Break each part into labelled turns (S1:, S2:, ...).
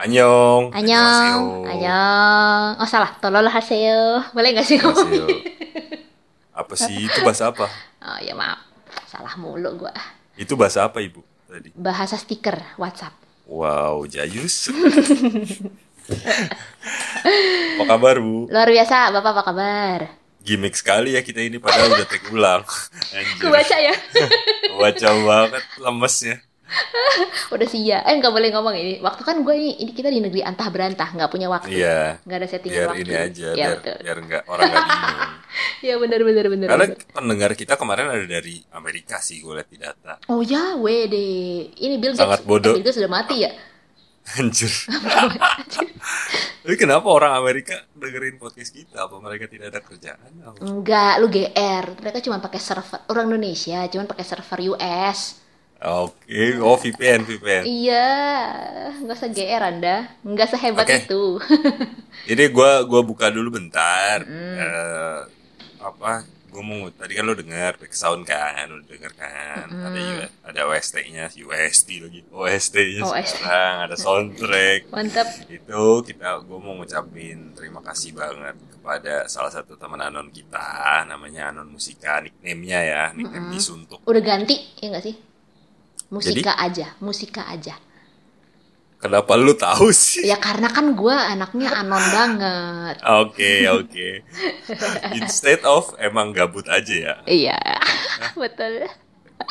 S1: Annyeong.
S2: Annyeong. Annyeong. Oh salah, tolol haseyo. Boleh nggak sih ngomong?
S1: Annyeonghaseyo. Apa sih itu bahasa apa?
S2: Oh ya maaf, salah mulu gua.
S1: Itu bahasa apa Ibu tadi?
S2: Bahasa stiker WhatsApp.
S1: Wow, Jayus. apa kabar Bu?
S2: Luar biasa, Bapak apa kabar?
S1: Gimik sekali ya kita ini padahal udah take ulang. Anjir.
S2: Gua baca ya.
S1: Baca banget lemesnya.
S2: Udah sia. Eh nggak boleh ngomong ini. Waktu kan gua ini, ini kita di negeri antah berantah, nggak punya waktu.
S1: Iya.
S2: Nggak ada settingan
S1: Biar
S2: waktu.
S1: ini aja,
S2: Ya
S1: biar
S2: betul.
S1: biar nggak orang nggak bingung.
S2: Ya benar benar benar.
S1: Karena
S2: benar.
S1: pendengar kita kemarin ada dari Amerika sih gue lihat di data.
S2: Oh ya, wede. Ini Bill Gates.
S1: Sangat bodoh.
S2: Eh, Bill Gates sudah mati ya?
S1: Anjir. Tapi kenapa orang Amerika dengerin podcast kita? Apa mereka tidak ada kerjaan? Apa?
S2: Enggak, lu GR. Mereka cuma pakai server orang Indonesia, cuma pakai server US.
S1: Oke, oh VPN, VPN.
S2: Iya, nggak usah GR Anda, nggak sehebat
S1: Oke.
S2: itu.
S1: Ini gua gua buka dulu bentar. Eh, apa? Gue mau tadi kan lo denger back sound kan, lo denger kan. Ada U- ada OST-nya, UST lagi. OST-nya
S2: OST.
S1: sekarang ada soundtrack.
S2: Mantap.
S1: itu kita gue Gitu, mau ngucapin terima kasih banget kepada salah satu teman anon kita namanya anon musika nickname-nya ya nickname disuntuk
S2: Udah ganti, ya nggak sih? Musika aja, musika aja.
S1: kenapa lu tahu sih
S2: Ya karena kan gua anaknya anon banget.
S1: Oke oke. Instead of emang gabut aja ya.
S2: Iya, betul.
S1: Iya,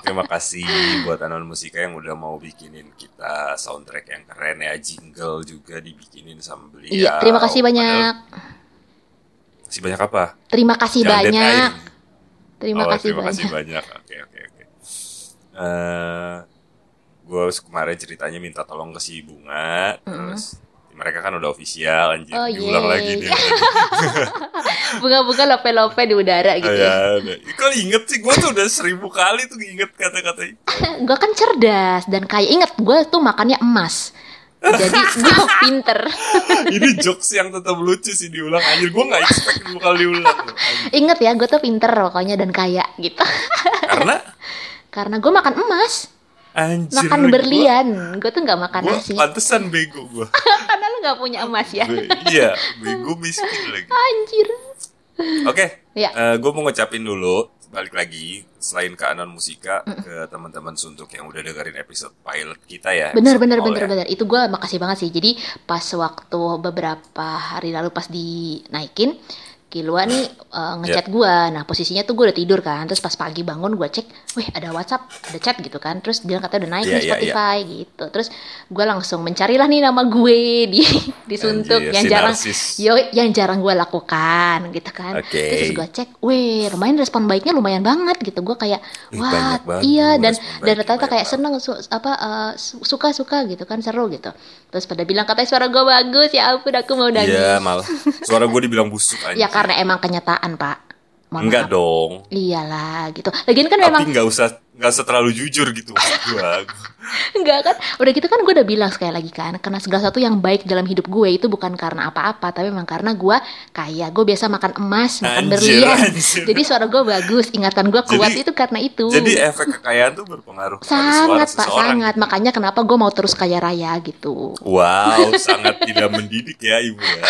S1: Terima kasih buat Anon Musika yang udah mau bikinin kita soundtrack yang keren ya, jingle juga dibikinin sama beliau.
S2: Iya, terima kasih banyak.
S1: Padahal- Kasih banyak apa?
S2: Terima kasih
S1: Jangan
S2: banyak.
S1: deadline.
S2: Terima
S1: Oh,
S2: kasih
S1: terima kasih
S2: banyak.
S1: banyak. Oke, oke, oke. gue kemarin ceritanya minta tolong ke si bunga, terus mereka kan udah official, anjing
S2: Oh,
S1: diulang
S2: yeay.
S1: lagi nih.
S2: Bunga-bunga lope-lope di udara gitu
S1: Ayah,
S2: ya.
S1: Oh, iya, Kok inget sih? Gue tuh udah seribu kali tuh inget kata-kata itu.
S2: gue kan cerdas dan kaya inget gue tuh makannya emas jadi gue pinter
S1: Ini jokes yang tetap lucu sih diulang. Anjir, gue nggak expect dua kali diulang. loh. Anjir.
S2: inget ya gue tuh pinter pokoknya dan kaya gitu
S1: Karena
S2: karena gue makan emas
S1: anjir.
S2: makan
S1: gua-
S2: berlian gue tuh nggak makan
S1: gua
S2: nasi
S1: pantesan bego gue.
S2: karena lu nggak punya emas ya
S1: iya, bego miskin lagi.
S2: anjir
S1: Oke,
S2: Ya.
S1: gue mau ngucapin dulu balik lagi selain ke Anon Musika ke teman-teman Suntuk yang udah dengerin episode pilot kita ya.
S2: bener
S1: episode
S2: bener
S1: nol
S2: bener
S1: ya.
S2: bener itu gue makasih banget sih jadi pas waktu beberapa hari lalu pas dinaikin Kilua nih eh, ngechat
S1: Ya.
S2: gua Nah posisinya tuh gue udah tidur kan Terus pas pagi bangun gue cek Wih ada whatsapp Ada chat gitu kan Terus bilang katanya udah naik
S1: Iya,
S2: nih
S1: iya,
S2: Spotify gitu Terus gue langsung mencarilah nih nama gue Di disuntuk
S1: Anjir,
S2: Yang
S1: si
S2: jarang
S1: narsis.
S2: yo Yang jarang gue lakukan gitu kan
S1: Oke.
S2: Terus gue cek Wih lumayan respon baiknya lumayan banget gitu Gue kayak
S1: Ih,
S2: Wah
S1: banyak banget
S2: iya
S1: respon baiknya,
S2: Dan dan rata-rata
S1: banyak
S2: kayak
S1: banget.
S2: seneng su- apa eh, su- suka suka gitu kan seru gitu terus pada bilang katanya suara gue bagus ya ampun aku mau
S1: Iya
S2: nangis
S1: malah suara gue dibilang busuk aja.
S2: ya karena emang kenyataan pak Mohon
S1: enggak
S2: maaf.
S1: dong.
S2: iyalah gitu lagian kan memang
S1: Tapi nggak usah nggak usah terlalu jujur gitu maksud gue.
S2: enggak kan udah gitu kan gue udah bilang sekali lagi kan karena segala satu yang baik dalam hidup gue itu bukan karena apa-apa tapi memang karena gue kaya gue biasa makan emas makan
S1: Anjir,
S2: berlian
S1: anjir.
S2: jadi suara gue bagus ingatan gue kuat
S1: Jadi-
S2: itu karena itu
S1: Jadi efek kekayaan tuh berpengaruh pada suara
S2: sangat pak
S1: seseorang.
S2: sangat makanya kenapa gue mau terus kaya raya gitu
S1: Wow, sangat tidak mendidik ya ibu ya.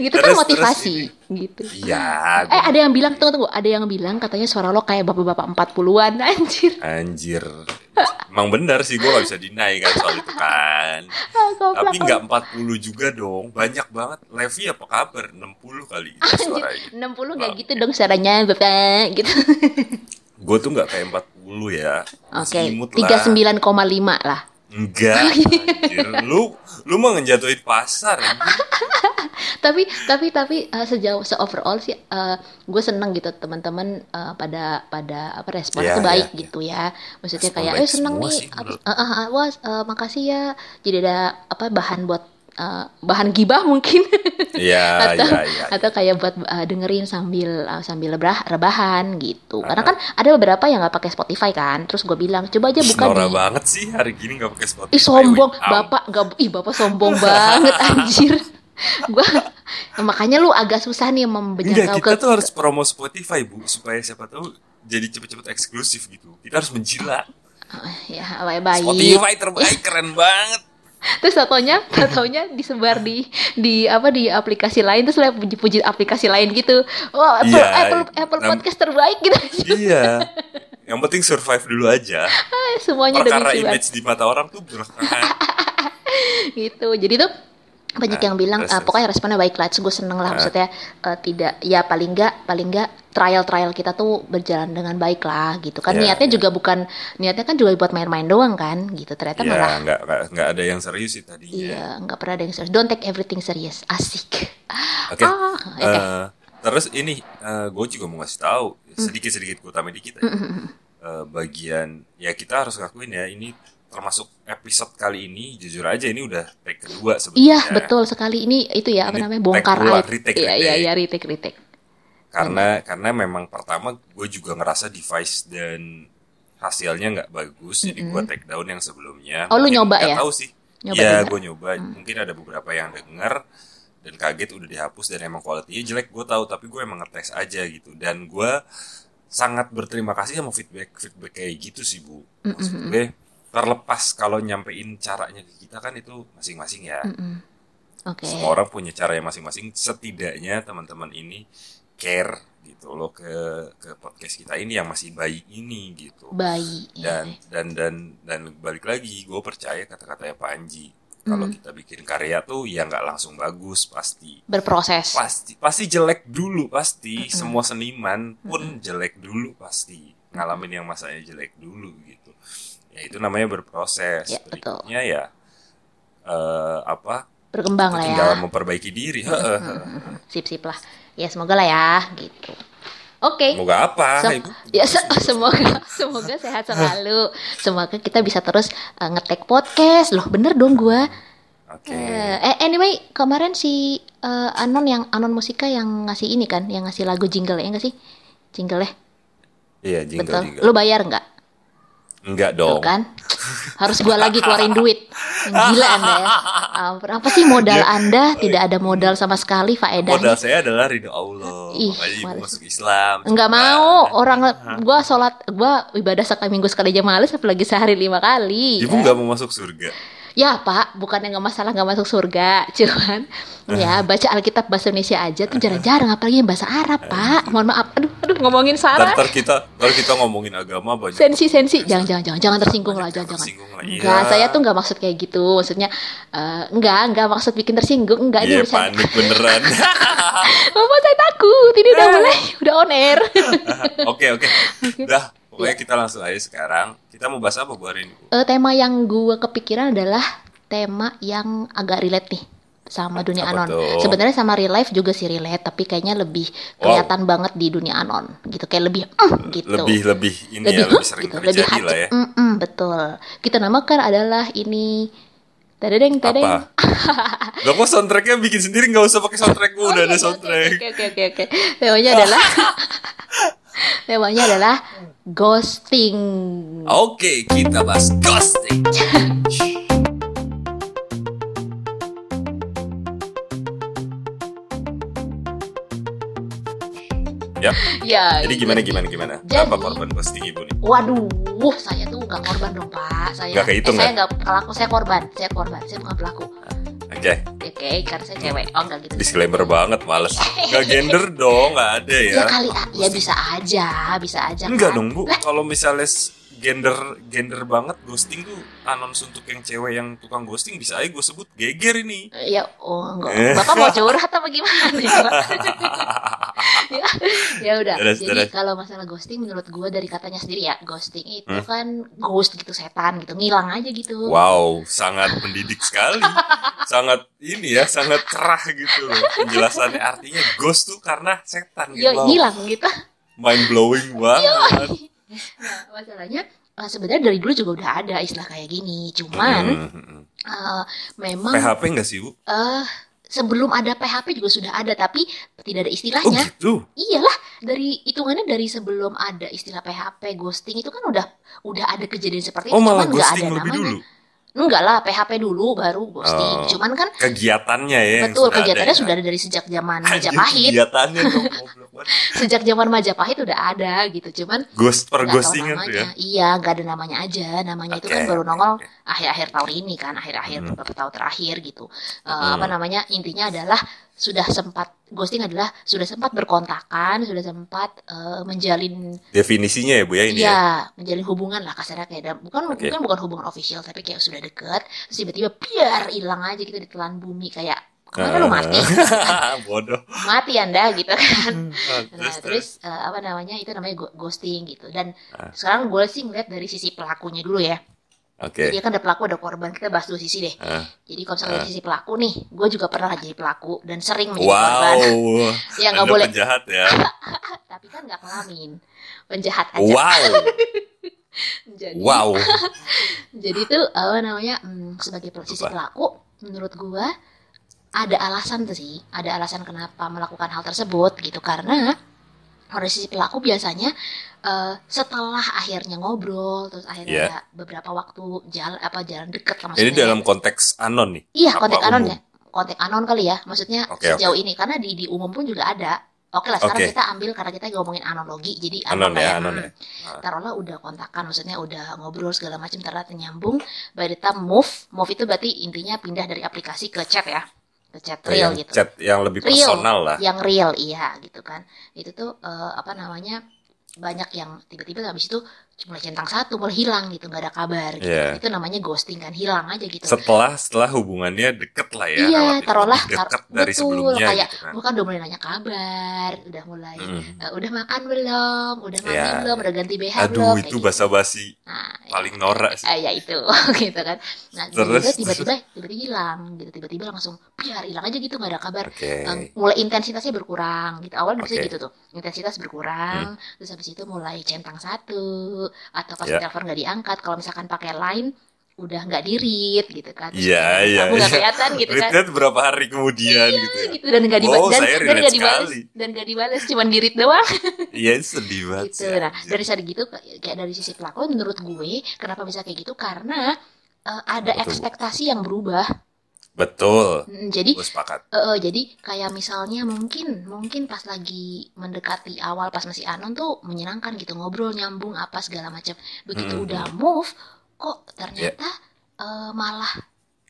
S2: gitu kan
S1: Terus- terus
S2: motivasi gitu
S1: Iya.
S2: Eh ada yang bilang tunggu tunggu ada yang bilang katanya suara lo kayak bapak-bapak 40-an anjir.
S1: Anjir. Emang benar sih gue gak bisa deny kan soal itu kan.
S2: Ah, goblok.
S1: Tapi nggak 40 juga dong. Banyak banget. Levi apa kabar? 60 kali itu
S2: anjir.
S1: suaranya.
S2: 60 gak gitu dong suaranya bapak gitu.
S1: Gue tuh nggak kayak 40 ya.
S2: Oke, Oh,
S1: Masih imut lah.
S2: 39,5 lah.
S1: Enggak.
S2: iya.
S1: Anjir. Lu lu mau ngejatuhin pasar. anjir.
S2: Tapi tapi tapi eh, sejauh se overall sih eh, gue seneng gitu teman-teman eh, pada pada apa respon
S1: Iya,
S2: tuh
S1: iya,
S2: baik
S1: iya.
S2: gitu ya. Maksudnya
S1: Respon
S2: kayak
S1: baik
S2: eh seneng
S1: semua
S2: nih
S1: sih,
S2: abis-
S1: menurut-
S2: eh, eh, eh, wah eh, makasih ya. Jadi ada apa bahan buat eh, bahan gibah mungkin.
S1: Iya,
S2: atau
S1: iya, iya.
S2: atau kayak buat uh, dengerin sambil uh, sambil lebrah, rebahan gitu karena kan ada beberapa yang nggak pakai Spotify kan terus gue bilang coba aja buka
S1: Nora
S2: di
S1: banget sih hari gini nggak pakai Spotify.
S2: ih sombong
S1: wait, out.
S2: bapak nggak ih bapak sombong banget anjir gue makanya lu agak susah nih
S1: Enggak,
S2: membenjangkau
S1: Iya, kita
S2: ke
S1: tuh harus promo Spotify, Bu, supaya siapa tahu jadi cepet-cepet eksklusif gitu. Kita harus menjilat.
S2: ya baik baik
S1: Spotify terbaik, keren banget.
S2: terus tatonya tatonya disebar di di apa di aplikasi lain terus lah puji-puji aplikasi lain gitu wah Apple
S1: Iya,
S2: Apple, Apple
S1: nam-
S2: podcast terbaik gitu
S1: iya yang penting survive dulu aja
S2: Ah, semuanya udah
S1: perkara
S2: lucu banget.
S1: image di mata orang tuh belakangan
S2: gitu jadi tuh
S1: Ah,
S2: banyak yang bilang
S1: terus,
S2: "Ah,
S1: terus.
S2: pokoknya responnya baik lah terus gue seneng lah
S1: Ah.
S2: maksudnya eh, tidak ya paling nggak paling nggak trial trial kita tuh berjalan dengan baik lah gitu kan
S1: Iya,
S2: niatnya
S1: iya.
S2: juga bukan niatnya kan juga buat main-main doang kan gitu ternyata malah
S1: ya nggak nggak- nggak ada yang serius sih tadinya
S2: iya nggak pernah ada yang serius don't take everything serious asik
S1: oke
S2: ah oke
S1: Eh, terus ini gue juga mau ngasih tahu
S2: Hmm.
S1: sedikit sedikit gue tambahin dikit aja. Eh, bagian ya kita harus ngakuin ya ini termasuk episode kali ini jujur aja ini udah take kedua sebenarnya
S2: Iya betul sekali ini itu ya apa
S1: Ya. Ini
S2: namanya
S1: take
S2: bongkar
S1: dua,
S2: aib.
S1: retake,
S2: Iya iya
S1: retake.
S2: iya retake retake.
S1: karena karena memang pertama gue juga ngerasa device dan hasilnya nggak bagus jadi gue take down yang sebelumnya
S2: Oh, lu
S1: Mungkin
S2: nyoba
S1: nggak
S2: ya?
S1: tahu sih
S2: Nyoba
S1: ya
S2: juga. Hmm.
S1: gue nyoba mungkin ada beberapa yang denger dan kaget udah dihapus dan emang kualitinya jelek gue tahu tapi gue emang ngetes aja gitu dan gue sangat berterima kasih sama feedback feedback kayak gitu sih bu maksud gue terlepas kalau nyampein caranya ke kita kan itu masing-masing ya
S2: Oke.
S1: semua orang punya cara yang masing-masing setidaknya teman-teman ini care gitu loh ke ke podcast kita ini yang masih bayi ini gitu
S2: Bayi. iya.
S1: dan dan dan dan balik lagi gue percaya kata-katanya Panji kalau
S2: Hmm.
S1: kita bikin karya tuh ya nggak langsung bagus pasti
S2: Berproses.
S1: pasti pasti jelek dulu pasti
S2: Hmm.
S1: semua seniman pun jelek dulu pasti ngalamin yang masanya jelek dulu gitu ya itu namanya berproses
S2: Ya, betul.
S1: berikutnya ya eh apa
S2: Berkembang lah ya. Hmm.
S1: tinggal memperbaiki diri. Heeh.
S2: Sip sip lah. Ya semoga lah ya gitu. Oke.
S1: Semoga apa?
S2: So-
S1: Ibu?
S2: ya se- semoga semoga sehat selalu. Semoga kita bisa terus eh, ngetek podcast. Loh bener dong gua.
S1: Oke.
S2: Eh anyway kemarin si eh, Anon yang Anon Musika yang ngasih ini kan, yang ngasih lagu jingle ya enggak sih? Jingle ya?
S1: Iya, jingle
S2: Betul.
S1: jingle.
S2: Lu bayar nggak?
S1: Enggak
S2: Tuh
S1: dong.
S2: kan harus gua lagi keluarin duit gila anda ya Ampun, apa sih modal anda tidak ada modal sama sekali
S1: Iya. Modal
S2: faedahnya
S1: saya adalah ridho Allah.
S2: Ih,
S1: Makanya ibu
S2: males.
S1: masuk Islam.
S2: nggak
S1: Coba.
S2: mau orang
S1: Nah.
S2: gua sholat gua ibadah sekali minggu sekali aja males apalagi sehari lima kali
S1: Ibu nggak mau masuk surga.
S2: ya pak bukannya nggak masalah nggak masuk surga cuman
S1: Nah.
S2: ya baca alkitab bahasa Indonesia aja tuh jarang-jarang apalagi yang bahasa Arab pak mohon maaf aduh aduh ngomongin
S1: Nah.
S2: Sarah
S1: Ntar kita, ntar kita ngomongin agama banyak.
S2: sensi sensi jangan jangan jangan jangan tersinggung lah jangan jangan
S1: Tersinggung lah, iya.
S2: enggak saya tuh nggak maksud kayak gitu maksudnya eh, enggak enggak maksud bikin tersinggung enggak ini
S1: Iya,
S2: urusan
S1: panik beneran.
S2: mama saya takut ini
S1: Eh.
S2: udah mulai udah on air
S1: Oke, oke. Udah, pokoknya kita langsung aja sekarang. Kita mau bahas apa bu hari ini? Bu?
S2: Eh, tema yang gua kepikiran adalah tema yang agak relate nih sama dunia
S1: Apa
S2: anon
S1: tuh?
S2: sebenarnya sama real life juga sih relate tapi kayaknya lebih kelihatan banget di dunia anon gitu kayak lebih "Mm," gitu
S1: Lebih lebih ini ya,
S2: lebih
S1: lebih
S2: "Huh?"
S1: sering
S2: gitu, lebih
S1: terjadi lah
S2: hati.
S1: ya.
S2: Mm-mm, betul. Kita namakan adalah ini tadadeng tadeng.
S1: Apa? Gak kok soundtracknya bikin sendiri nggak usah pakai soundtrack gue
S2: Oh,
S1: udah
S2: iya,
S1: ada
S2: iya,
S1: soundtrack.
S2: Oke oke oke oke. Temanya adalah temanya adalah ghosting.
S1: Oh, Oke, kita bahas ghosting. Yap,
S2: Ya.
S1: jadi gimana gimana gimana?
S2: Jadi-
S1: Berapa korban ghosting ibu nih?
S2: Waduh, wuh, saya tuh nggak korban dong pak. Saya
S1: Nggak kehitung,
S2: eh, saya
S1: ya?
S2: nggak pelaku, saya korban, saya korban, saya bukan pelaku.
S1: Oke,
S2: Oke, karena saya cewek. Oh nggak gitu.
S1: disclaimer banget, males. Gak gender dong, nggak ada ya.
S2: Ya kali ah, ya bisa aja, bisa aja.
S1: Enggak
S2: kan?
S1: dong bu, kalau misalnya s- gender gender banget ghosting tuh anons untuk yang cewek yang tukang ghosting bisa aja gue sebut geger ini.
S2: Ya, oh
S1: Eh.
S2: enggak. Bapak mau curhat apa gimana? ya, ya udah.
S1: Dadah,
S2: Jadi
S1: dadah.
S2: kalau masalah ghosting, menurut gue dari katanya sendiri ya, ghosting itu
S1: Hmm.
S2: kan ghost gitu setan gitu, ngilang aja gitu.
S1: Wow, sangat mendidik sekali. sangat ini ya, sangat cerah gitu loh. Penjelasannya artinya ghost tuh karena setan gitu.
S2: Ya
S1: Wow,
S2: ngilang gitu.
S1: Mind blowing banget.
S2: Nah, masalahnya eh, sebenarnya dari dulu juga udah ada istilah kayak gini, cuman
S1: Hmm.
S2: eh, memang
S1: PHP enggak sih, Bu? Oh,
S2: eh sebelum ada PHP juga sudah ada, tapi tidak ada
S1: Oh
S2: istilahnya.
S1: gitu.
S2: Iyalah, dari hitungannya dari sebelum ada istilah PHP ghosting itu kan udah udah ada kejadian seperti itu,
S1: Oh malah
S2: cuman nggak ada
S1: ghosting lebih
S2: namanya.
S1: dulu.
S2: Enggak lah, PHP dulu baru ghosting.
S1: Oh.
S2: Cuman kan
S1: Kegiatannya ya. yang sudah
S2: betul
S1: ada
S2: kegiatannya
S1: ya.
S2: sudah ada dari sejak zaman
S1: Anjir, iya.
S2: Majapahit.
S1: Kegiatannya dong, goblok banget.
S2: Sejak zaman Majapahit udah ada gitu. Cuman
S1: Ghost per
S2: nggak tahu
S1: ghostingan tuh ya.
S2: namanya. Iya, nggak ada namanya aja. Namanya itu
S1: Oke,
S2: kan baru
S1: oke,
S2: nongol
S1: oke.
S2: akhir-akhir tahun ini kan, akhir-akhir
S1: Hmm.
S2: beberapa tahun terakhir gitu. Eh,
S1: Hmm.
S2: Apa namanya? Intinya adalah sudah sempat ghosting adalah sudah sempat berkontakan, sudah sempat eh, menjalin
S1: Definisinya ya Bu ya ini ya.
S2: Iya, menjalin hubungan lah kasarnya kayak ada- bukan
S1: Oke.
S2: bukan bukan hubungan official tapi kayak sudah deket, terus tiba-tiba biar hilang aja gitu ditelan bumi kayak kemana lu mati?
S1: Ah, Bodoh.
S2: mati anda gitu kan.
S1: Ah,
S2: Iya. Nah,
S1: Terus, terus.
S2: terus eh, apa namanya itu namanya go- ghosting gitu dan
S1: Ah.
S2: sekarang gue sih ngeliat dari sisi pelakunya dulu ya.
S1: Oke.
S2: Jadi kan ada pelaku ada korban kita bahas dua sisi deh.
S1: Ah.
S2: Jadi kalau misalnya dari sisi pelaku nih, gue juga pernah jadi pelaku dan sering menjadi korban.
S1: Wow.
S2: Ya
S1: Anda
S2: nggak boleh,
S1: penjahat ya.
S2: tapi kan nggak ngalamin penjahat aja.
S1: Wow.
S2: Jadi
S1: Wow.
S2: Jadi itu apa namanya hmm, sebagai pel- sisi
S1: Apa?
S2: pelaku menurut gua ada alasan tuh sih, ada alasan kenapa melakukan hal tersebut gitu karena dari sisi pelaku biasanya eh, setelah akhirnya ngobrol terus akhirnya
S1: Iya.
S2: ada beberapa waktu jalan apa jalan deket lah
S1: Ini
S2: maksudnya.
S1: dalam konteks anon nih.
S2: iya
S1: apa
S2: kontak anon
S1: umum?
S2: ya, kontak anon kali ya maksudnya
S1: Oke,
S2: sejauh ini karena di di umum pun juga ada. Oke lah sekarang
S1: Oke.
S2: kita ambil karena kita ngomongin analogi jadi
S1: Anon
S2: lah
S1: ya, anon
S2: Hmm
S1: ya.
S2: taruhlah udah kontakan maksudnya udah ngobrol segala macam ternyata nyambung by the time move move itu berarti intinya pindah dari aplikasi ke chat ya ke chat
S1: yang
S2: real gitu
S1: Chat ah. yang lebih
S2: Real.
S1: personal lah.
S2: yang real iya gitu kan itu tuh eh, apa namanya banyak yang tiba-tiba habis itu cuma centang satu mulai hilang gitu nggak ada kabar gitu.
S1: Iya.
S2: itu namanya ghosting kan hilang aja gitu
S1: Setelah setelah hubungannya deket lah ya.
S2: iya
S1: relatif
S2: taruhlah
S1: lebih Deket
S2: tar-
S1: dari
S2: betul
S1: sebelumnya
S2: kayak
S1: gitu kan.
S2: gua kan udah mulai nanya kabar udah mulai
S1: Mm.
S2: eh, udah makan belum udah mandi
S1: Iya.
S2: belum udah ganti BH belum
S1: Aduh
S2: kayak
S1: itu
S2: gitu.
S1: basa-basi
S2: Nah, ya.
S1: paling norak sih.
S2: Ah, ya itu gitu kan nah
S1: Terus?
S2: tiba-tiba tiba-tiba tiba-tiba hilang gitu tiba-tiba langsung biar hilang aja gitu nggak ada kabar
S1: Oke.
S2: Em, mulai intensitasnya berkurang gitu awal
S1: Oke.
S2: biasanya
S1: Hmm.
S2: gitu tuh intensitas berkurang terus habis itu mulai centang satu atau pas
S1: Ya.
S2: telepon nggak diangkat kalau misalkan pakai line udah nggak dirit gitu kan Terus
S1: Iya,
S2: kamu-
S1: iya,
S2: kamu nggak
S1: iya.
S2: kelihatan gitu kan
S1: Retweet berapa hari kemudian gitu ya.
S2: gitu dan nggak
S1: Wow,
S2: dibales
S1: saya
S2: dan dan nggak
S1: relate
S2: dibales
S1: sekali.
S2: dan nggak dibales cuman dirit doang
S1: Iya sedih banget
S2: gitu
S1: sih,
S2: nah
S1: anjir.
S2: dari saat gitu kayak dari sisi pelaku menurut gue kenapa bisa kayak gitu karena eh, ada
S1: Betul.
S2: ekspektasi yang berubah
S1: Betul.
S2: Mm, jadi
S1: Gue sepakat.
S2: eh, eh, jadi kayak misalnya mungkin mungkin pas lagi mendekati awal pas masih anon tuh menyenangkan gitu ngobrol nyambung apa segala macam begitu
S1: Mm-mm. Iya.
S2: udah move kok ternyata eh, malah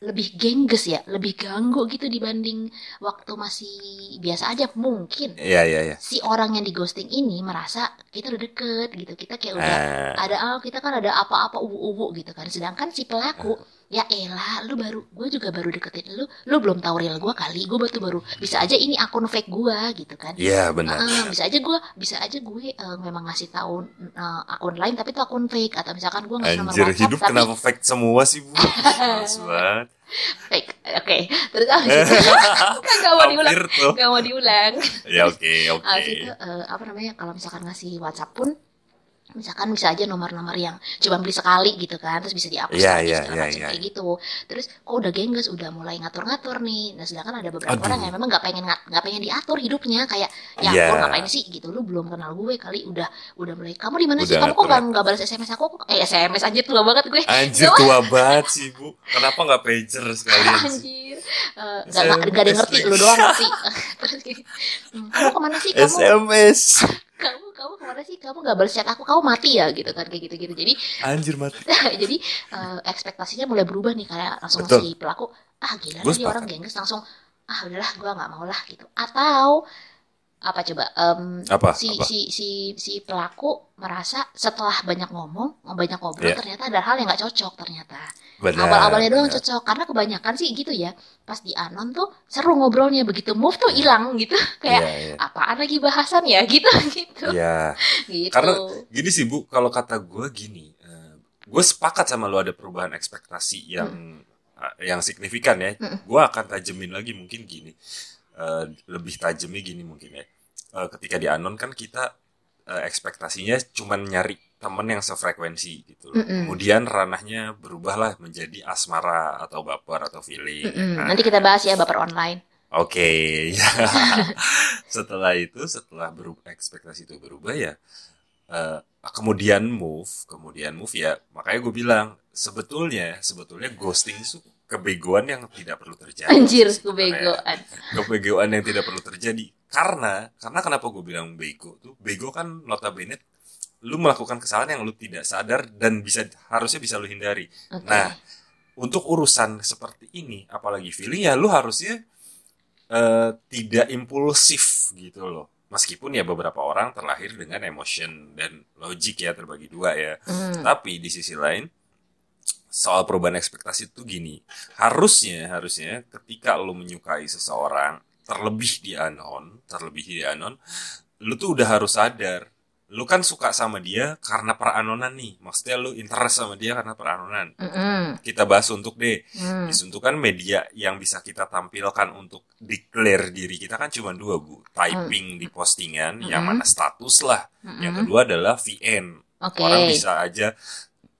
S2: lebih gengges ya lebih ganggu gitu dibanding waktu masih biasa aja mungkin
S1: Iya iya iya.
S2: si orang yang di ghosting ini merasa kita udah deket gitu kita kayak udah
S1: Ah,
S2: ada ah, kita kan ada apa-apa ubu-ubu gitu kan sedangkan si pelaku
S1: Eh.
S2: ya elah lu baru gue juga baru deketin lu lu belum tahu real gue kali gue batu baru bisa aja ini akun fake gue gitu kan
S1: Iya benar.
S2: Ah, bisa aja gue bisa aja gue eh, memang ngasih tahu eh, akun lain tapi itu akun fake atau misalkan gue ngasih nomor
S1: Anjir
S2: WhatsApp
S1: hidup
S2: tapi
S1: kenapa fake semua sih bu? Males banget.
S2: fake oke terus abis itu gak mau diulang
S1: Hampir tuh.
S2: gak mau diulang
S1: Ya oke oke.
S2: Abis itu eh, apa namanya kalau misalkan ngasih WhatsApp pun misalkan bisa aja nomor-nomor yang cuma beli sekali gitu kan terus bisa dihapus
S1: Iya,
S2: lagi
S1: iya,
S2: segala
S1: iya,
S2: macam
S1: iya.
S2: kayak gitu terus kok udah gengges udah mulai ngatur-ngatur nih nah sedangkan ada beberapa
S1: Aduh.
S2: orang yang memang nggak pengen ngat- nggak pengen diatur hidupnya kayak ya
S1: Iya.
S2: kok ngapain sih gitu lu belum kenal gue kali udah udah mulai kamu di mana sih
S1: Udah
S2: kamu kok nggak
S1: ngatur-ngatur.
S2: nggak balas sms aku eh sms anjir tua banget gue
S1: Anjir tua banget sih bu. Kenapa nggak pager sekalian? sih?
S2: anjir Eh, nggak nggak nggak ada yang ngerti lu doang ngerti terus kayak, "Hmm, kamu kemana sih kamu
S1: SMS.
S2: kamu kamu kemana sih kamu nggak balas chat aku kamu mati ya gitu kan kayak gitu gitu jadi
S1: Anjir mati.
S2: jadi eh, ekspektasinya mulai berubah nih kayak langsung
S1: Betul.
S2: si pelaku ah gila
S1: Gua
S2: nih dia orang
S1: sepakat.
S2: gengges langsung ah udahlah gua nggak mau lah gitu atau apa coba em,
S1: Apa?
S2: si,
S1: apa?
S2: si si si pelaku merasa setelah banyak ngomong banyak ngobrol
S1: Iya.
S2: ternyata ada hal yang nggak cocok ternyata
S1: Benar,
S2: awal-awalnya doang
S1: benar.
S2: cocok karena kebanyakan sih gitu ya pas di anon tuh seru ngobrolnya begitu move tuh hilang gitu kayak
S1: Iya, iya.
S2: apaan lagi bahasan ya gitu gitu
S1: Iya.
S2: gitu.
S1: Karena- gini sih bu kalau kata gue gini gue sepakat sama lo ada perubahan ekspektasi yang eh, yang signifikan ya
S2: Mm.
S1: gue akan tajemin lagi mungkin gini Eh, lebih tajamnya gini mungkin ya Eh, ketika di anon kan kita eh, ekspektasinya cuman nyari temen yang sefrekuensi gitu loh.
S2: Mm-mm.
S1: kemudian ranahnya berubahlah menjadi asmara atau baper atau feeling ya
S2: Mm-mm.
S1: kan?
S2: Nanti kita bahas ya baper online.
S1: Oke, setelah itu, setelah berubah, ekspektasi itu berubah ya, eh, kemudian move, kemudian move ya, makanya gue bilang sebetulnya sebetulnya ghosting itu kebegoan yang tidak perlu terjadi.
S2: Anjir,
S1: sebenarnya.
S2: kebegoan.
S1: Kebegoan yang tidak perlu terjadi. Karena karena kenapa gue bilang bego tuh? Bego kan notabene lu melakukan kesalahan yang lu tidak sadar dan bisa harusnya bisa lu hindari.
S2: Oke.
S1: Nah, untuk urusan seperti ini apalagi feeling ya lu harusnya eh, tidak impulsif gitu loh. Meskipun ya beberapa orang terlahir dengan emotion dan logik ya terbagi dua ya.
S2: Hmm.
S1: Tapi di sisi lain soal perubahan ekspektasi itu gini. Harusnya harusnya ketika lo menyukai seseorang, terlebih di anon, terlebih di anon, lu tuh udah harus sadar. Lu kan suka sama dia karena peranonan nih. Maksudnya lu interest sama dia karena peranonan.
S2: Mm-mm.
S1: Kita bahas untuk deh.
S2: Hmm.
S1: Disuntukan kan media yang bisa kita tampilkan untuk declare diri kita kan cuma dua, Bu. Typing di postingan, yang
S2: Mm.
S1: mana
S2: Mm-mm.
S1: status lah. Yang
S2: Mm-mm.
S1: kedua adalah VN,
S2: Oke.
S1: orang bisa aja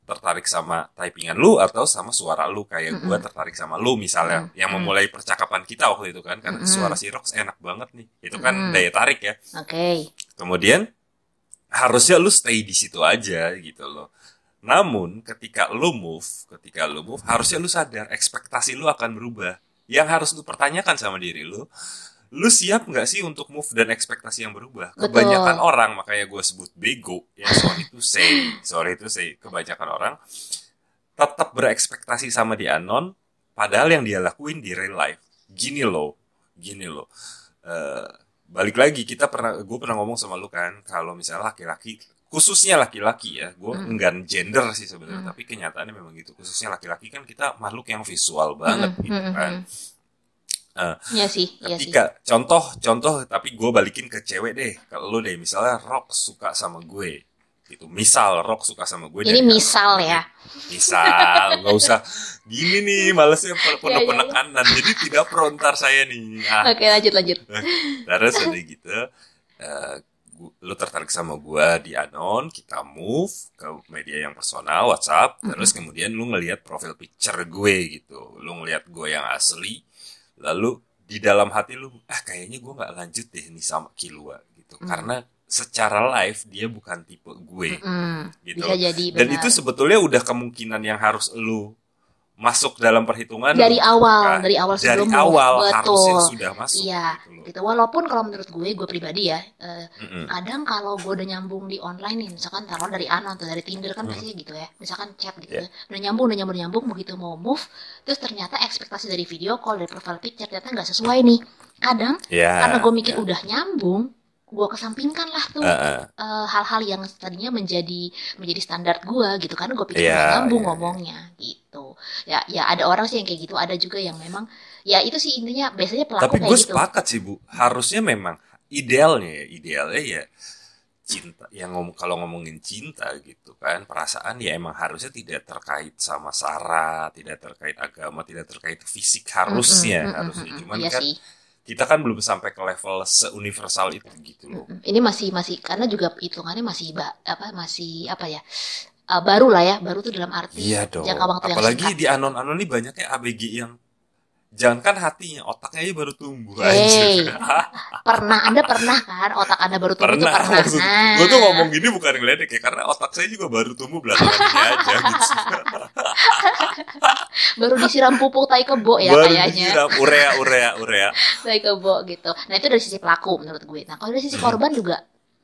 S1: tertarik sama typingan lu atau sama suara lu kayak gua tertarik sama lu misalnya
S2: Mm-mm.
S1: yang memulai percakapan kita waktu itu kan karena
S2: Mm-mm.
S1: suara si Rox enak banget nih itu kan
S2: Mm-mm.
S1: daya tarik ya
S2: Oke.
S1: kemudian harusnya lu stay di situ aja gitu loh namun ketika lu move ketika lu move harusnya lu sadar ekspektasi lu akan berubah yang harus lu pertanyakan sama diri lu lu siap nggak sih untuk move dan ekspektasi yang berubah
S2: Betul.
S1: kebanyakan orang makanya gue sebut bego ya sorry to say sorry to say kebanyakan orang tetap berekspektasi sama di anon padahal yang dia lakuin di real life gini loh gini loh Eh, balik lagi kita pernah gue pernah ngomong sama lu kan kalau misalnya laki-laki khususnya laki-laki ya gue
S2: Hmm.
S1: enggan gender sih sebenarnya
S2: Hmm.
S1: tapi kenyataannya memang gitu khususnya laki-laki kan kita makhluk yang visual banget
S2: Mm-mm.
S1: gitu kan
S2: Mm-mm.
S1: Eh,
S2: Iya sih, Hmm. iya sih.
S1: ketika contoh contoh tapi gue balikin ke cewek deh kalau lu deh misalnya rock suka sama gue gitu misal rock suka sama gue
S2: Ini
S1: dari-
S2: misal ya.
S1: misal nggak usah gini nih malesnya pe-
S2: Ya, ya,
S1: penuh
S2: ya.
S1: penekanan jadi tidak frontar saya nih ah
S2: Oke, lanjut lanjut.
S1: Terus udah gitu, eh, gu- lu tertarik sama gua di anon, kita move ke media yang personal, WhatsApp. Terus kemudian lu ngelihat profil picture gue gitu, lu ngelihat gue yang asli. Lalu di dalam hati lu, ah kayaknya gua nggak lanjut deh nih sama Kilua gitu,
S2: Mm.
S1: karena secara live dia bukan tipe gue
S2: Mm-mm.
S1: gitu.
S2: Bisa jadi benar.
S1: Dan itu sebetulnya udah kemungkinan yang harus lu masuk dalam perhitungan
S2: dari
S1: lu.
S2: awal,
S1: Nah,
S2: dari awal
S1: dari
S2: sebelum move.
S1: awal harusnya
S2: betul.
S1: sudah masuk
S2: Iya,
S1: gitu loh.
S2: gitu. Walaupun kalau menurut gue, gue pribadi ya, eh,
S1: Mm-mm.
S2: kadang kalau gue udah nyambung di online nih, misalkan taruh dari anon atau dari Tinder kan
S1: Hmm.
S2: pasti gitu ya, misalkan chat gitu,
S1: Iya.
S2: ya. udah nyambung, udah nyambung, udah nyambung, begitu mau move, terus ternyata ekspektasi dari video call, dari profile picture ternyata nggak sesuai nih. Kadang
S1: Ya,
S2: karena gue
S1: ya.
S2: mikir udah nyambung, gue kesampingkan lah tuh
S1: Eh, eh.
S2: eh, hal-hal yang tadinya menjadi menjadi standar gua gitu karena gue pikir
S1: Iya,
S2: nggak nyambung
S1: iya,
S2: ngomongnya gitu ya ya ada orang sih yang kayak gitu ada juga yang memang ya itu sih intinya biasanya pelaku
S1: Tapi
S2: kayak
S1: gue
S2: gitu
S1: sepakat sih bu, harusnya memang idealnya ya, idealnya ya cinta. Yang ngom- kalau ngomongin cinta gitu kan, perasaan ya emang harusnya tidak terkait sama sara, tidak terkait agama, tidak terkait fisik harusnya,
S2: Mm, mm, mm,
S1: harusnya.
S2: mm, mm,
S1: Cuman
S2: iya
S1: kan
S2: sih.
S1: kita kan belum sampai ke level seuniversal itu gitu loh.
S2: Mm, ini masih masih karena juga hitungannya masih ba- apa masih apa ya eh, baru lah ya baru tuh dalam arti
S1: Iya dong.
S2: jangka waktu yang
S1: Apalagi
S2: singkat.
S1: di anon-anon ini banyaknya ABG yang jangankan hatinya, otaknya aja baru tumbuh.
S2: Hey.
S1: anjir.
S2: pernah anda pernah kan otak anda baru tumbuh tuh
S1: pernah,
S2: pernah
S1: maksud-
S2: Nah.
S1: gue tuh ngomong gini bukan ngeledek ya karena otak saya juga baru tumbuh belakangan ini aja gitu
S2: baru disiram pupuk tai kebo ya
S1: baru
S2: kayaknya
S1: disiram urea urea urea
S2: baik kebo gitu. Nah itu dari sisi pelaku menurut gue. Nah kalau dari
S1: Mm-hmm.
S2: sisi korban juga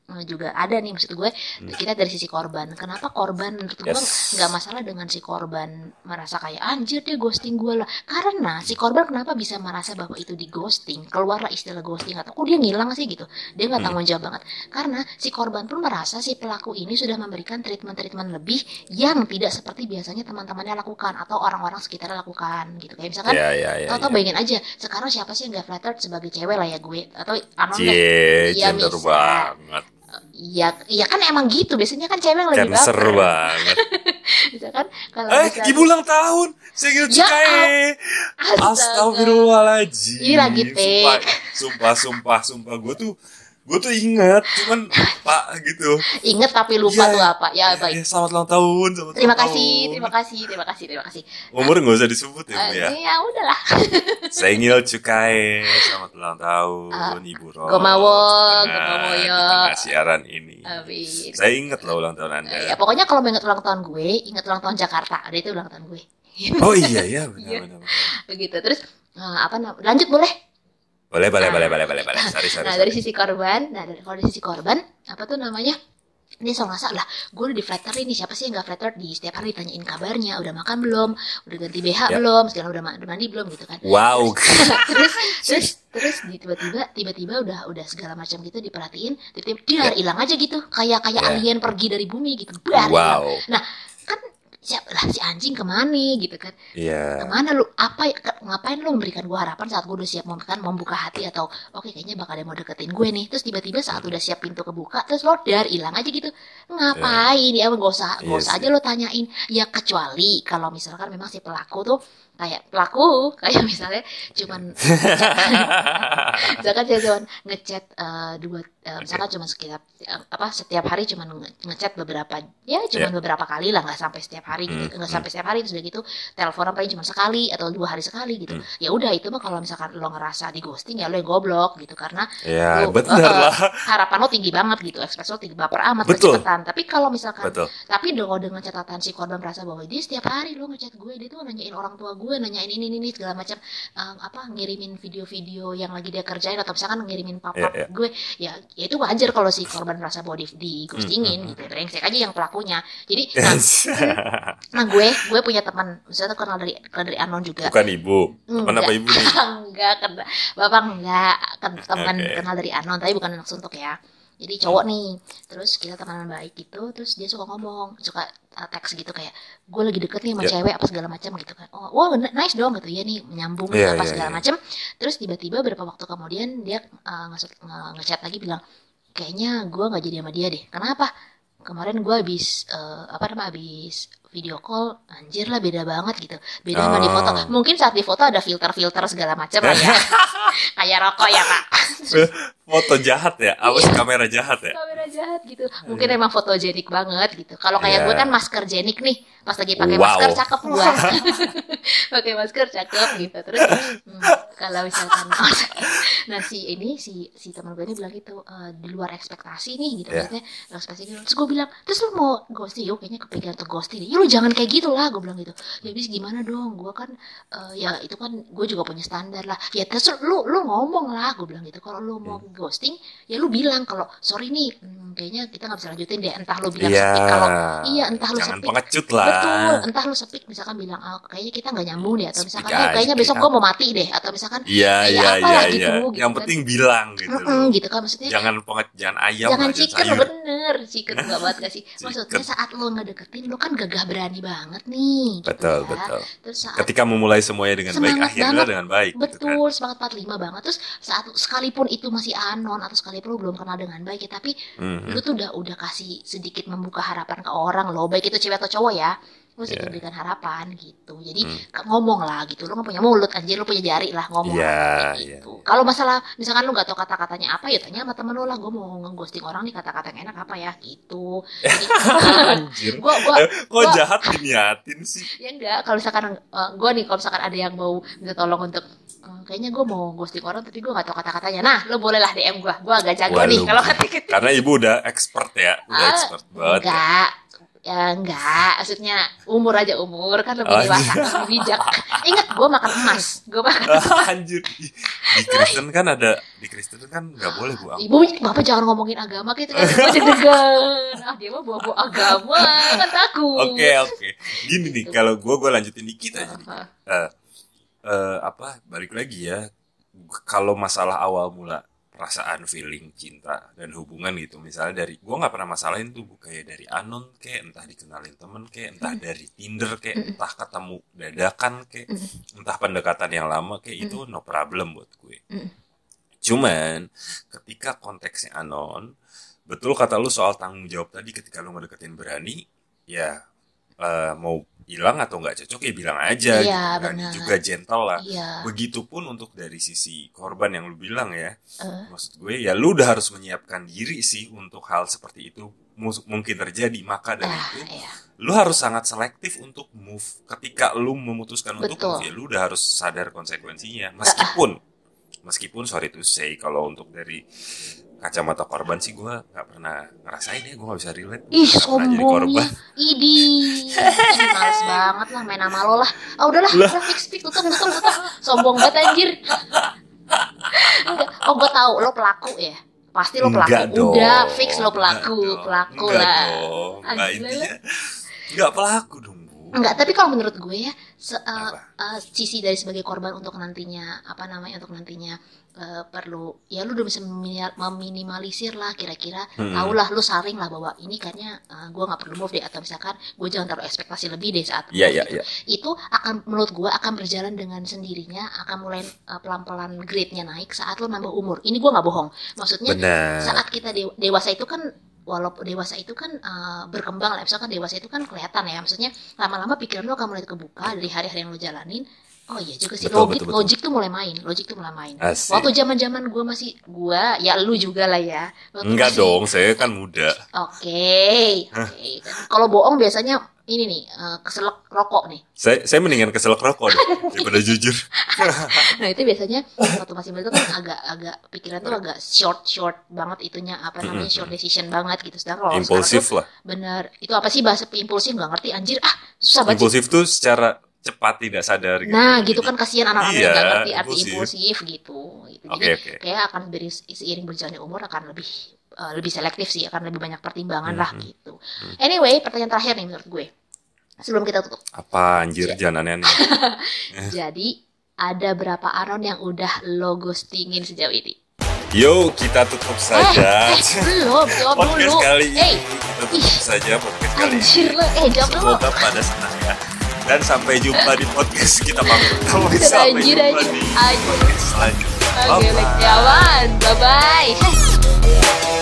S2: eh, juga ada nih maksud gue kita dari sisi korban kenapa korban menurut gue
S1: Mm. Yes.
S2: nggak masalah dengan si korban merasa kayak anjir dia ghosting gue lah karena si korban kenapa bisa merasa bahwa itu di ghosting keluarlah istilah ghosting atau kok dia ngilang sih gitu dia
S1: Hmm.
S2: nggak tanggung jawab banget karena si korban pun merasa si pelaku ini sudah memberikan treatment-treatment lebih yang tidak seperti biasanya teman-temannya lakukan atau orang-orang sekitarnya lakukan gitu kayak misalkan
S1: ya ya ya,
S2: atau bayangin aja sekarang siapa sih yang gak flattered sebagai cewek lah ya gue atau anon
S1: Cie,
S2: deh. Iya,
S1: gender
S2: bisa.
S1: banget,
S2: Iya, iya kan emang gitu. Biasanya kan cewek yang lebih
S1: cancer
S2: baper.
S1: banget.
S2: Misalkan kalau
S1: Eh,
S2: bisa-
S1: ibu ulang tahun, saya ingin
S2: Ya,
S1: cukai.
S2: Astaga.
S1: Astagfirullahaladzim.
S2: Ini lagi take.
S1: Sumpah, sumpah, sumpah, sumpah. Gue tuh gue tuh inget cuman lupa gitu
S2: Ingat tapi lupa
S1: Iya,
S2: tuh apa.
S1: Ya,
S2: Ya
S1: ya,
S2: baik.
S1: selamat ulang tahun selamat
S2: Terima
S1: ulang
S2: kasih,
S1: tahun.
S2: terima kasih, terima kasih, terima kasih.
S1: umur nggak usah disebut ya bu
S2: Eh,
S1: ya
S2: ya udahlah.
S1: Sengil Cukai, selamat ulang tahun
S2: Ah,
S1: Ibu Ros.
S2: Gomawo,
S1: Di tengah-
S2: gomawoyo.
S1: di tengah siaran ini.
S2: Amin.
S1: Saya ingat loh ulang tahun Anda.
S2: Ya pokoknya kalau mau ingat ulang tahun gue, ingat ulang tahun Jakarta. Ada itu ulang tahun gue.
S1: Oh iya ya,
S2: Iya.
S1: benar benar.
S2: Begitu. Terus eh, apa namanya? Lanjut boleh?
S1: Boleh boleh
S2: Ah.
S1: boleh boleh boleh boleh. Sorry sorry.
S2: Nah dari sisi korban, nah dari kalau dari sisi korban, apa tuh namanya? Ini soal ngerasa lah, gue udah di flatter ini siapa sih yang gak flatter di setiap hari ditanyain kabarnya, udah makan belum, udah ganti BH
S1: Ya.
S2: belum, segala udah, ma- udah mandi belum gitu kan.
S1: Wow.
S2: terus terus terus di- tiba-tiba tiba-tiba udah udah segala macam gitu diperhatiin, tiba-tiba dia hilang aja gitu, kayak kayak
S1: Ya.
S2: alien pergi dari bumi gitu. Bar, hilang.
S1: Wow.
S2: Siap lah si anjing kemana gitu kan.
S1: Iya.
S2: Kemana lu? Apa ya? ke- ngapain lu memberikan gue harapan saat gue udah siap membuka, membuka hati atau oke kayaknya bakal ada yang mau deketin gue nih. Terus tiba-tiba saat udah siap pintu kebuka terus lo dar hilang aja gitu. Ngapain? Ya gak usah, gak
S1: Iya
S2: usah
S1: sih.
S2: aja lo tanyain. Ya kecuali kalau misalkan memang si pelaku tuh kayak pelaku kayak misalnya
S1: Ya.
S2: cuman misalkan dia cuman ngechat eh, dua eh, misalkan cuma sekitar eh, apa setiap hari cuman nge- ngechat beberapa ya cuman beberapa kali lah nggak sampai setiap hari
S1: Iya.
S2: gitu
S1: Hmm,
S2: nggak sampai setiap hari terus udah gitu teleponan paling cuma sekali atau dua hari sekali gitu
S1: Hmm.
S2: ya udah itu mah kalau misalkan lo ngerasa di ghosting ya lo yang goblok gitu karena
S1: Iya,
S2: Lu,
S1: benar
S2: eh,
S1: lah.
S2: harapan lo tinggi banget gitu ekspres lo tinggi baper amat
S1: Betul.
S2: kecepetan tapi kalau misalkan
S1: Betul.
S2: tapi dong kalau dengan catatan si korban merasa bahwa dia setiap hari lo ngechat gue dia tuh nanyain orang tua gue nanyain ini ini, ini segala macam eh, apa ngirimin video-video yang lagi dia kerjain atau misalkan ngirimin papa
S1: Iya, iya.
S2: gue ya, ya itu wajar kalau si korban merasa bahwa di, di ghostingin gitu brengsek aja yang pelakunya jadi nah, nah, gue gue punya teman misalnya tuh kenal dari kenal dari anon juga
S1: Bukan ibu. Teman
S2: Enggak.
S1: apa ibu nih?
S2: enggak kena bapak enggak kan teman
S1: Oke.
S2: kenal dari anon tapi bukan anak suntuk ya jadi cowok nih terus kita teman baik gitu terus dia suka ngomong suka uh, teks gitu kayak gue lagi deket nih sama
S1: Ya.
S2: cewek apa segala macam gitu kan oh wah nice dong gitu ya nih menyambung
S1: Iya,
S2: apa
S1: iya,
S2: segala
S1: iya.
S2: macam terus tiba-tiba beberapa waktu kemudian dia uh, nge- nge- ngechat lagi bilang kayaknya gue nggak jadi sama dia deh kenapa kemarin gue habis eh, apa namanya habis video call anjir lah beda banget gitu beda sama di foto
S1: Ah.
S2: mungkin saat di foto ada filter-filter segala macam lah ya kayak rokok ya kak
S1: Foto jahat
S2: Iya.
S1: ya? Apa sih kamera jahat ya?
S2: kamera jahat gitu mungkin emang fotogenik banget gitu kalau
S1: Iya.
S2: kayak gue kan masker jenik nih pas lagi pakai
S1: Wow.
S2: masker cakep gue pakai masker cakep gitu terus hmm, kalau misalkan nah si ini si si teman gue ini bilang gitu e, di luar ekspektasi nih gitu
S1: Iya.
S2: maksudnya luar ekspektasi gitu. terus gue bilang terus lu mau ghosting yo kayaknya kepikiran untuk ghosting ya lu jangan kayak gitu lah gue bilang gitu ya bis gimana dong gue kan eh, ya itu kan gue juga punya standar lah ya terus lu lu ngomong lah gue bilang gitu kalau lu
S1: Hmm.
S2: mau ghosting ya lu bilang kalau sorry nih hmm, kayaknya kita nggak bisa lanjutin deh entah lu bilang
S1: Iya.
S2: sepi kalau iya, entah lu
S1: Jangan
S2: sepi.
S1: pengecut
S2: betul
S1: lah.
S2: entah lu sepik misalkan bilang ah kayaknya kita nggak nyambung deh atau
S1: Speak
S2: misalkan "Eh,
S1: aja,
S2: kayaknya
S1: kayak
S2: besok gua mau mati deh atau misalkan
S1: Iya,
S2: Iya,
S1: iya, iya,
S2: apalah gitu,
S1: iya.
S2: gitu
S1: Yang
S2: kan.
S1: penting bilang gitu.
S2: "Mm-mm," gitu kan maksudnya
S1: Jangan pengecut, jangan ayam,
S2: jangan
S1: lah,
S2: chicken
S1: sayur.
S2: bener chicken gak banget gak sih maksudnya
S1: Chicken.
S2: saat lo ngedeketin lo kan gagah berani banget nih gitu
S1: Betul,
S2: ya.
S1: betul.
S2: terus saat
S1: Ketika memulai semuanya dengan baik,
S2: Semangat
S1: akhirnya
S2: banget.
S1: dengan baik. gitu kan.
S2: Betul, semangat 45 banget. Terus saat sekalipun itu masih anon atau sekalipun lu belum kenal dengan baik ya, tapi
S1: Mhm.
S2: lu tuh udah udah kasih sedikit membuka harapan ke orang loh, baik itu cewek atau cowok ya. Lu sedikit
S1: Iya.
S2: berikan harapan gitu. Jadi
S1: Hmm.
S2: ke- ngomong lah gitu. Lu nggak punya mulut anjir, lu punya jari lah ngomong
S1: Iya,
S2: lah, kayak
S1: iya,
S2: gitu. Kalau masalah misalkan lu nggak tahu kata-katanya apa ya tanya sama temen lu lah, gue mau ngeghosting orang nih kata-kata yang enak apa ya gitu. Jadi
S1: Anjir.
S2: gua gua
S1: Eh, Kok
S2: gua-
S1: jahat diniatin sih?
S2: ya enggak kalau misalkan gue nih kalau misalkan ada yang mau minta tolong untuk eh, kayaknya gue mau ghosting orang tapi gue gak tau kata-katanya nah lo bolehlah DM gue gue agak jago
S1: Wah,
S2: nih
S1: lu-
S2: kalau ketik-ketik
S1: Karena ibu udah expert ya, udah
S2: Ah,
S1: expert banget. ya.
S2: enggak ya enggak maksudnya umur aja umur kan lebih
S1: Oh,
S2: dewasa lebih bijak ingat gue makan emas gue makan
S1: Anjir. Di di Kristen kan ada di Kristen kan nggak boleh Bu Am.
S2: ibu bapak jangan ngomongin agama gitu kan gue deg-degan ah dia mah bawa-bawa agama kan takut
S1: Oke, oke. Gini nih, kalau gua gua lanjutin dikit aja nih.
S2: Ah,
S1: Eh, apa? Balik lagi ya. Kalau masalah awal mula perasaan, feeling, cinta dan hubungan gitu. Misalnya dari gua nggak pernah masalahin tuh Bu. kayak dari anon kayak entah dikenalin temen kayak entah dari Tinder kayak entah ketemu dadakan kayak entah pendekatan yang lama kayak itu no problem buat gue.
S2: Mm.
S1: Cuman ketika konteksnya anon, betul kata lu soal tanggung jawab tadi ketika lu ngedeketin berani, ya eh, mau hilang atau nggak cocok ya bilang aja
S2: Iya,
S1: gitu kan.
S2: benar.
S1: Juga gentle lah.
S2: Iya.
S1: Begitupun untuk dari sisi korban yang lu bilang ya.
S2: Eh.
S1: Maksud gue ya lu udah harus menyiapkan diri sih untuk hal seperti itu Mus- mungkin terjadi. Maka dari
S2: Ah,
S1: itu
S2: iya.
S1: lu harus sangat selektif untuk move. Ketika lu memutuskan untuk
S2: Betul.
S1: move ya lu udah harus sadar konsekuensinya. Meskipun meskipun sorry to say kalau untuk dari kacamata korban sih gue nggak pernah ngerasain ya gue nggak bisa relate Nggak pernah
S2: Ih,
S1: jadi
S2: sombongnya.
S1: korban
S2: Idi. Ih, Males banget lah main sama lo lah. Ah, udahlah,
S1: Lah.
S2: udah fix fix tutup tutup tutup. Sombong banget anjir. Enggak. Oh, gue tahu lo pelaku ya. Pasti lo pelaku.
S1: Enggak dong.
S2: Udah fix lo
S1: Enggak
S2: pelaku,
S1: dong.
S2: pelaku
S1: Enggak
S2: lah.
S1: dong.
S2: Ah,
S1: Enggak
S2: gila
S1: intinya. Enggak pelaku dong, Bu.
S2: Enggak, eh, tapi kalau menurut gue ya, se- eh,
S1: Apa?
S2: eh, sisi dari sebagai korban untuk nantinya apa namanya untuk nantinya eh, perlu ya lu udah bisa meminia- meminimalisir lah kira-kira
S1: Hmm.
S2: tau lah lu saring lah bahwa ini kayaknya eh, gue nggak perlu move deh atau misalkan gue jangan taruh ekspektasi lebih deh saat
S1: Iya,
S2: move
S1: iya,
S2: gitu.
S1: iya.
S2: itu akan menurut gue akan berjalan dengan sendirinya akan mulai eh, pelan-pelan grade-nya naik saat lu nambah umur ini gue nggak bohong maksudnya
S1: Benar.
S2: saat kita dewa- dewasa itu kan walaupun dewasa itu kan eh, berkembang lah misalkan dewasa itu kan kelihatan ya maksudnya lama-lama pikiran lo akan mulai kebuka dari hari-hari yang lo jalanin oh iya juga
S1: Iya.
S2: sih
S1: Betul,
S2: logik
S1: betul, betul.
S2: logik tuh mulai main logik tuh mulai main
S1: Asik.
S2: waktu zaman-zaman gue masih gue ya lu juga lah ya Waktu
S1: Enggak
S2: masih-
S1: dong, saya kan muda.
S2: oke oke kalau bohong biasanya ini nih eh, keselak rokok nih
S1: Saya saya mendingan keselak rokok deh daripada jujur.
S2: Oh, nah itu biasanya waktu masih muda tuh kan agak agak pikiran tuh agak short short banget itunya apa namanya short decision banget gitu sedangkan kalau sekarang tuh
S1: Impulsif lah.
S2: Bener. Itu apa sih bahasa impulsif nggak ngerti anjir ah susah banget. sih.
S1: Impulsif tuh secara cepat tidak sadar
S2: Nah gitu kan kasihan anak-anak yang nggak
S1: Iya,
S2: ngerti arti
S1: impulsif.
S2: impulsif gitu. Gitu.
S1: Oke,
S2: Jadi
S1: oke.
S2: kayak akan beri seiring berjalannya umur akan lebih eh, lebih selektif sih akan lebih banyak pertimbangan lah
S1: Mhm.
S2: gitu. Anyway pertanyaan terakhir nih menurut gue sebelum kita tutup.
S1: Apa anjir jangan aneh-aneh.
S2: Jadi ada berapa Anon yang udah lo ghostingin sejauh ini?
S1: Yo, kita tutup saja.
S2: Eh, eh belum jawab
S1: Podcast
S2: dulu.
S1: kali
S2: Eh
S1: ini kita
S2: ih.
S1: tutup saja podcast kali ini.
S2: anjir lo eh jawab dulu.
S1: Semoga pada senang ya. Dan sampai jumpa di podcast kita pamit. Sampai sampai
S2: Anjir
S1: jumpa
S2: anjir
S1: di
S2: anjir. Eh,
S1: podcast selanjutnya. Bye-bye.
S2: Bye bye.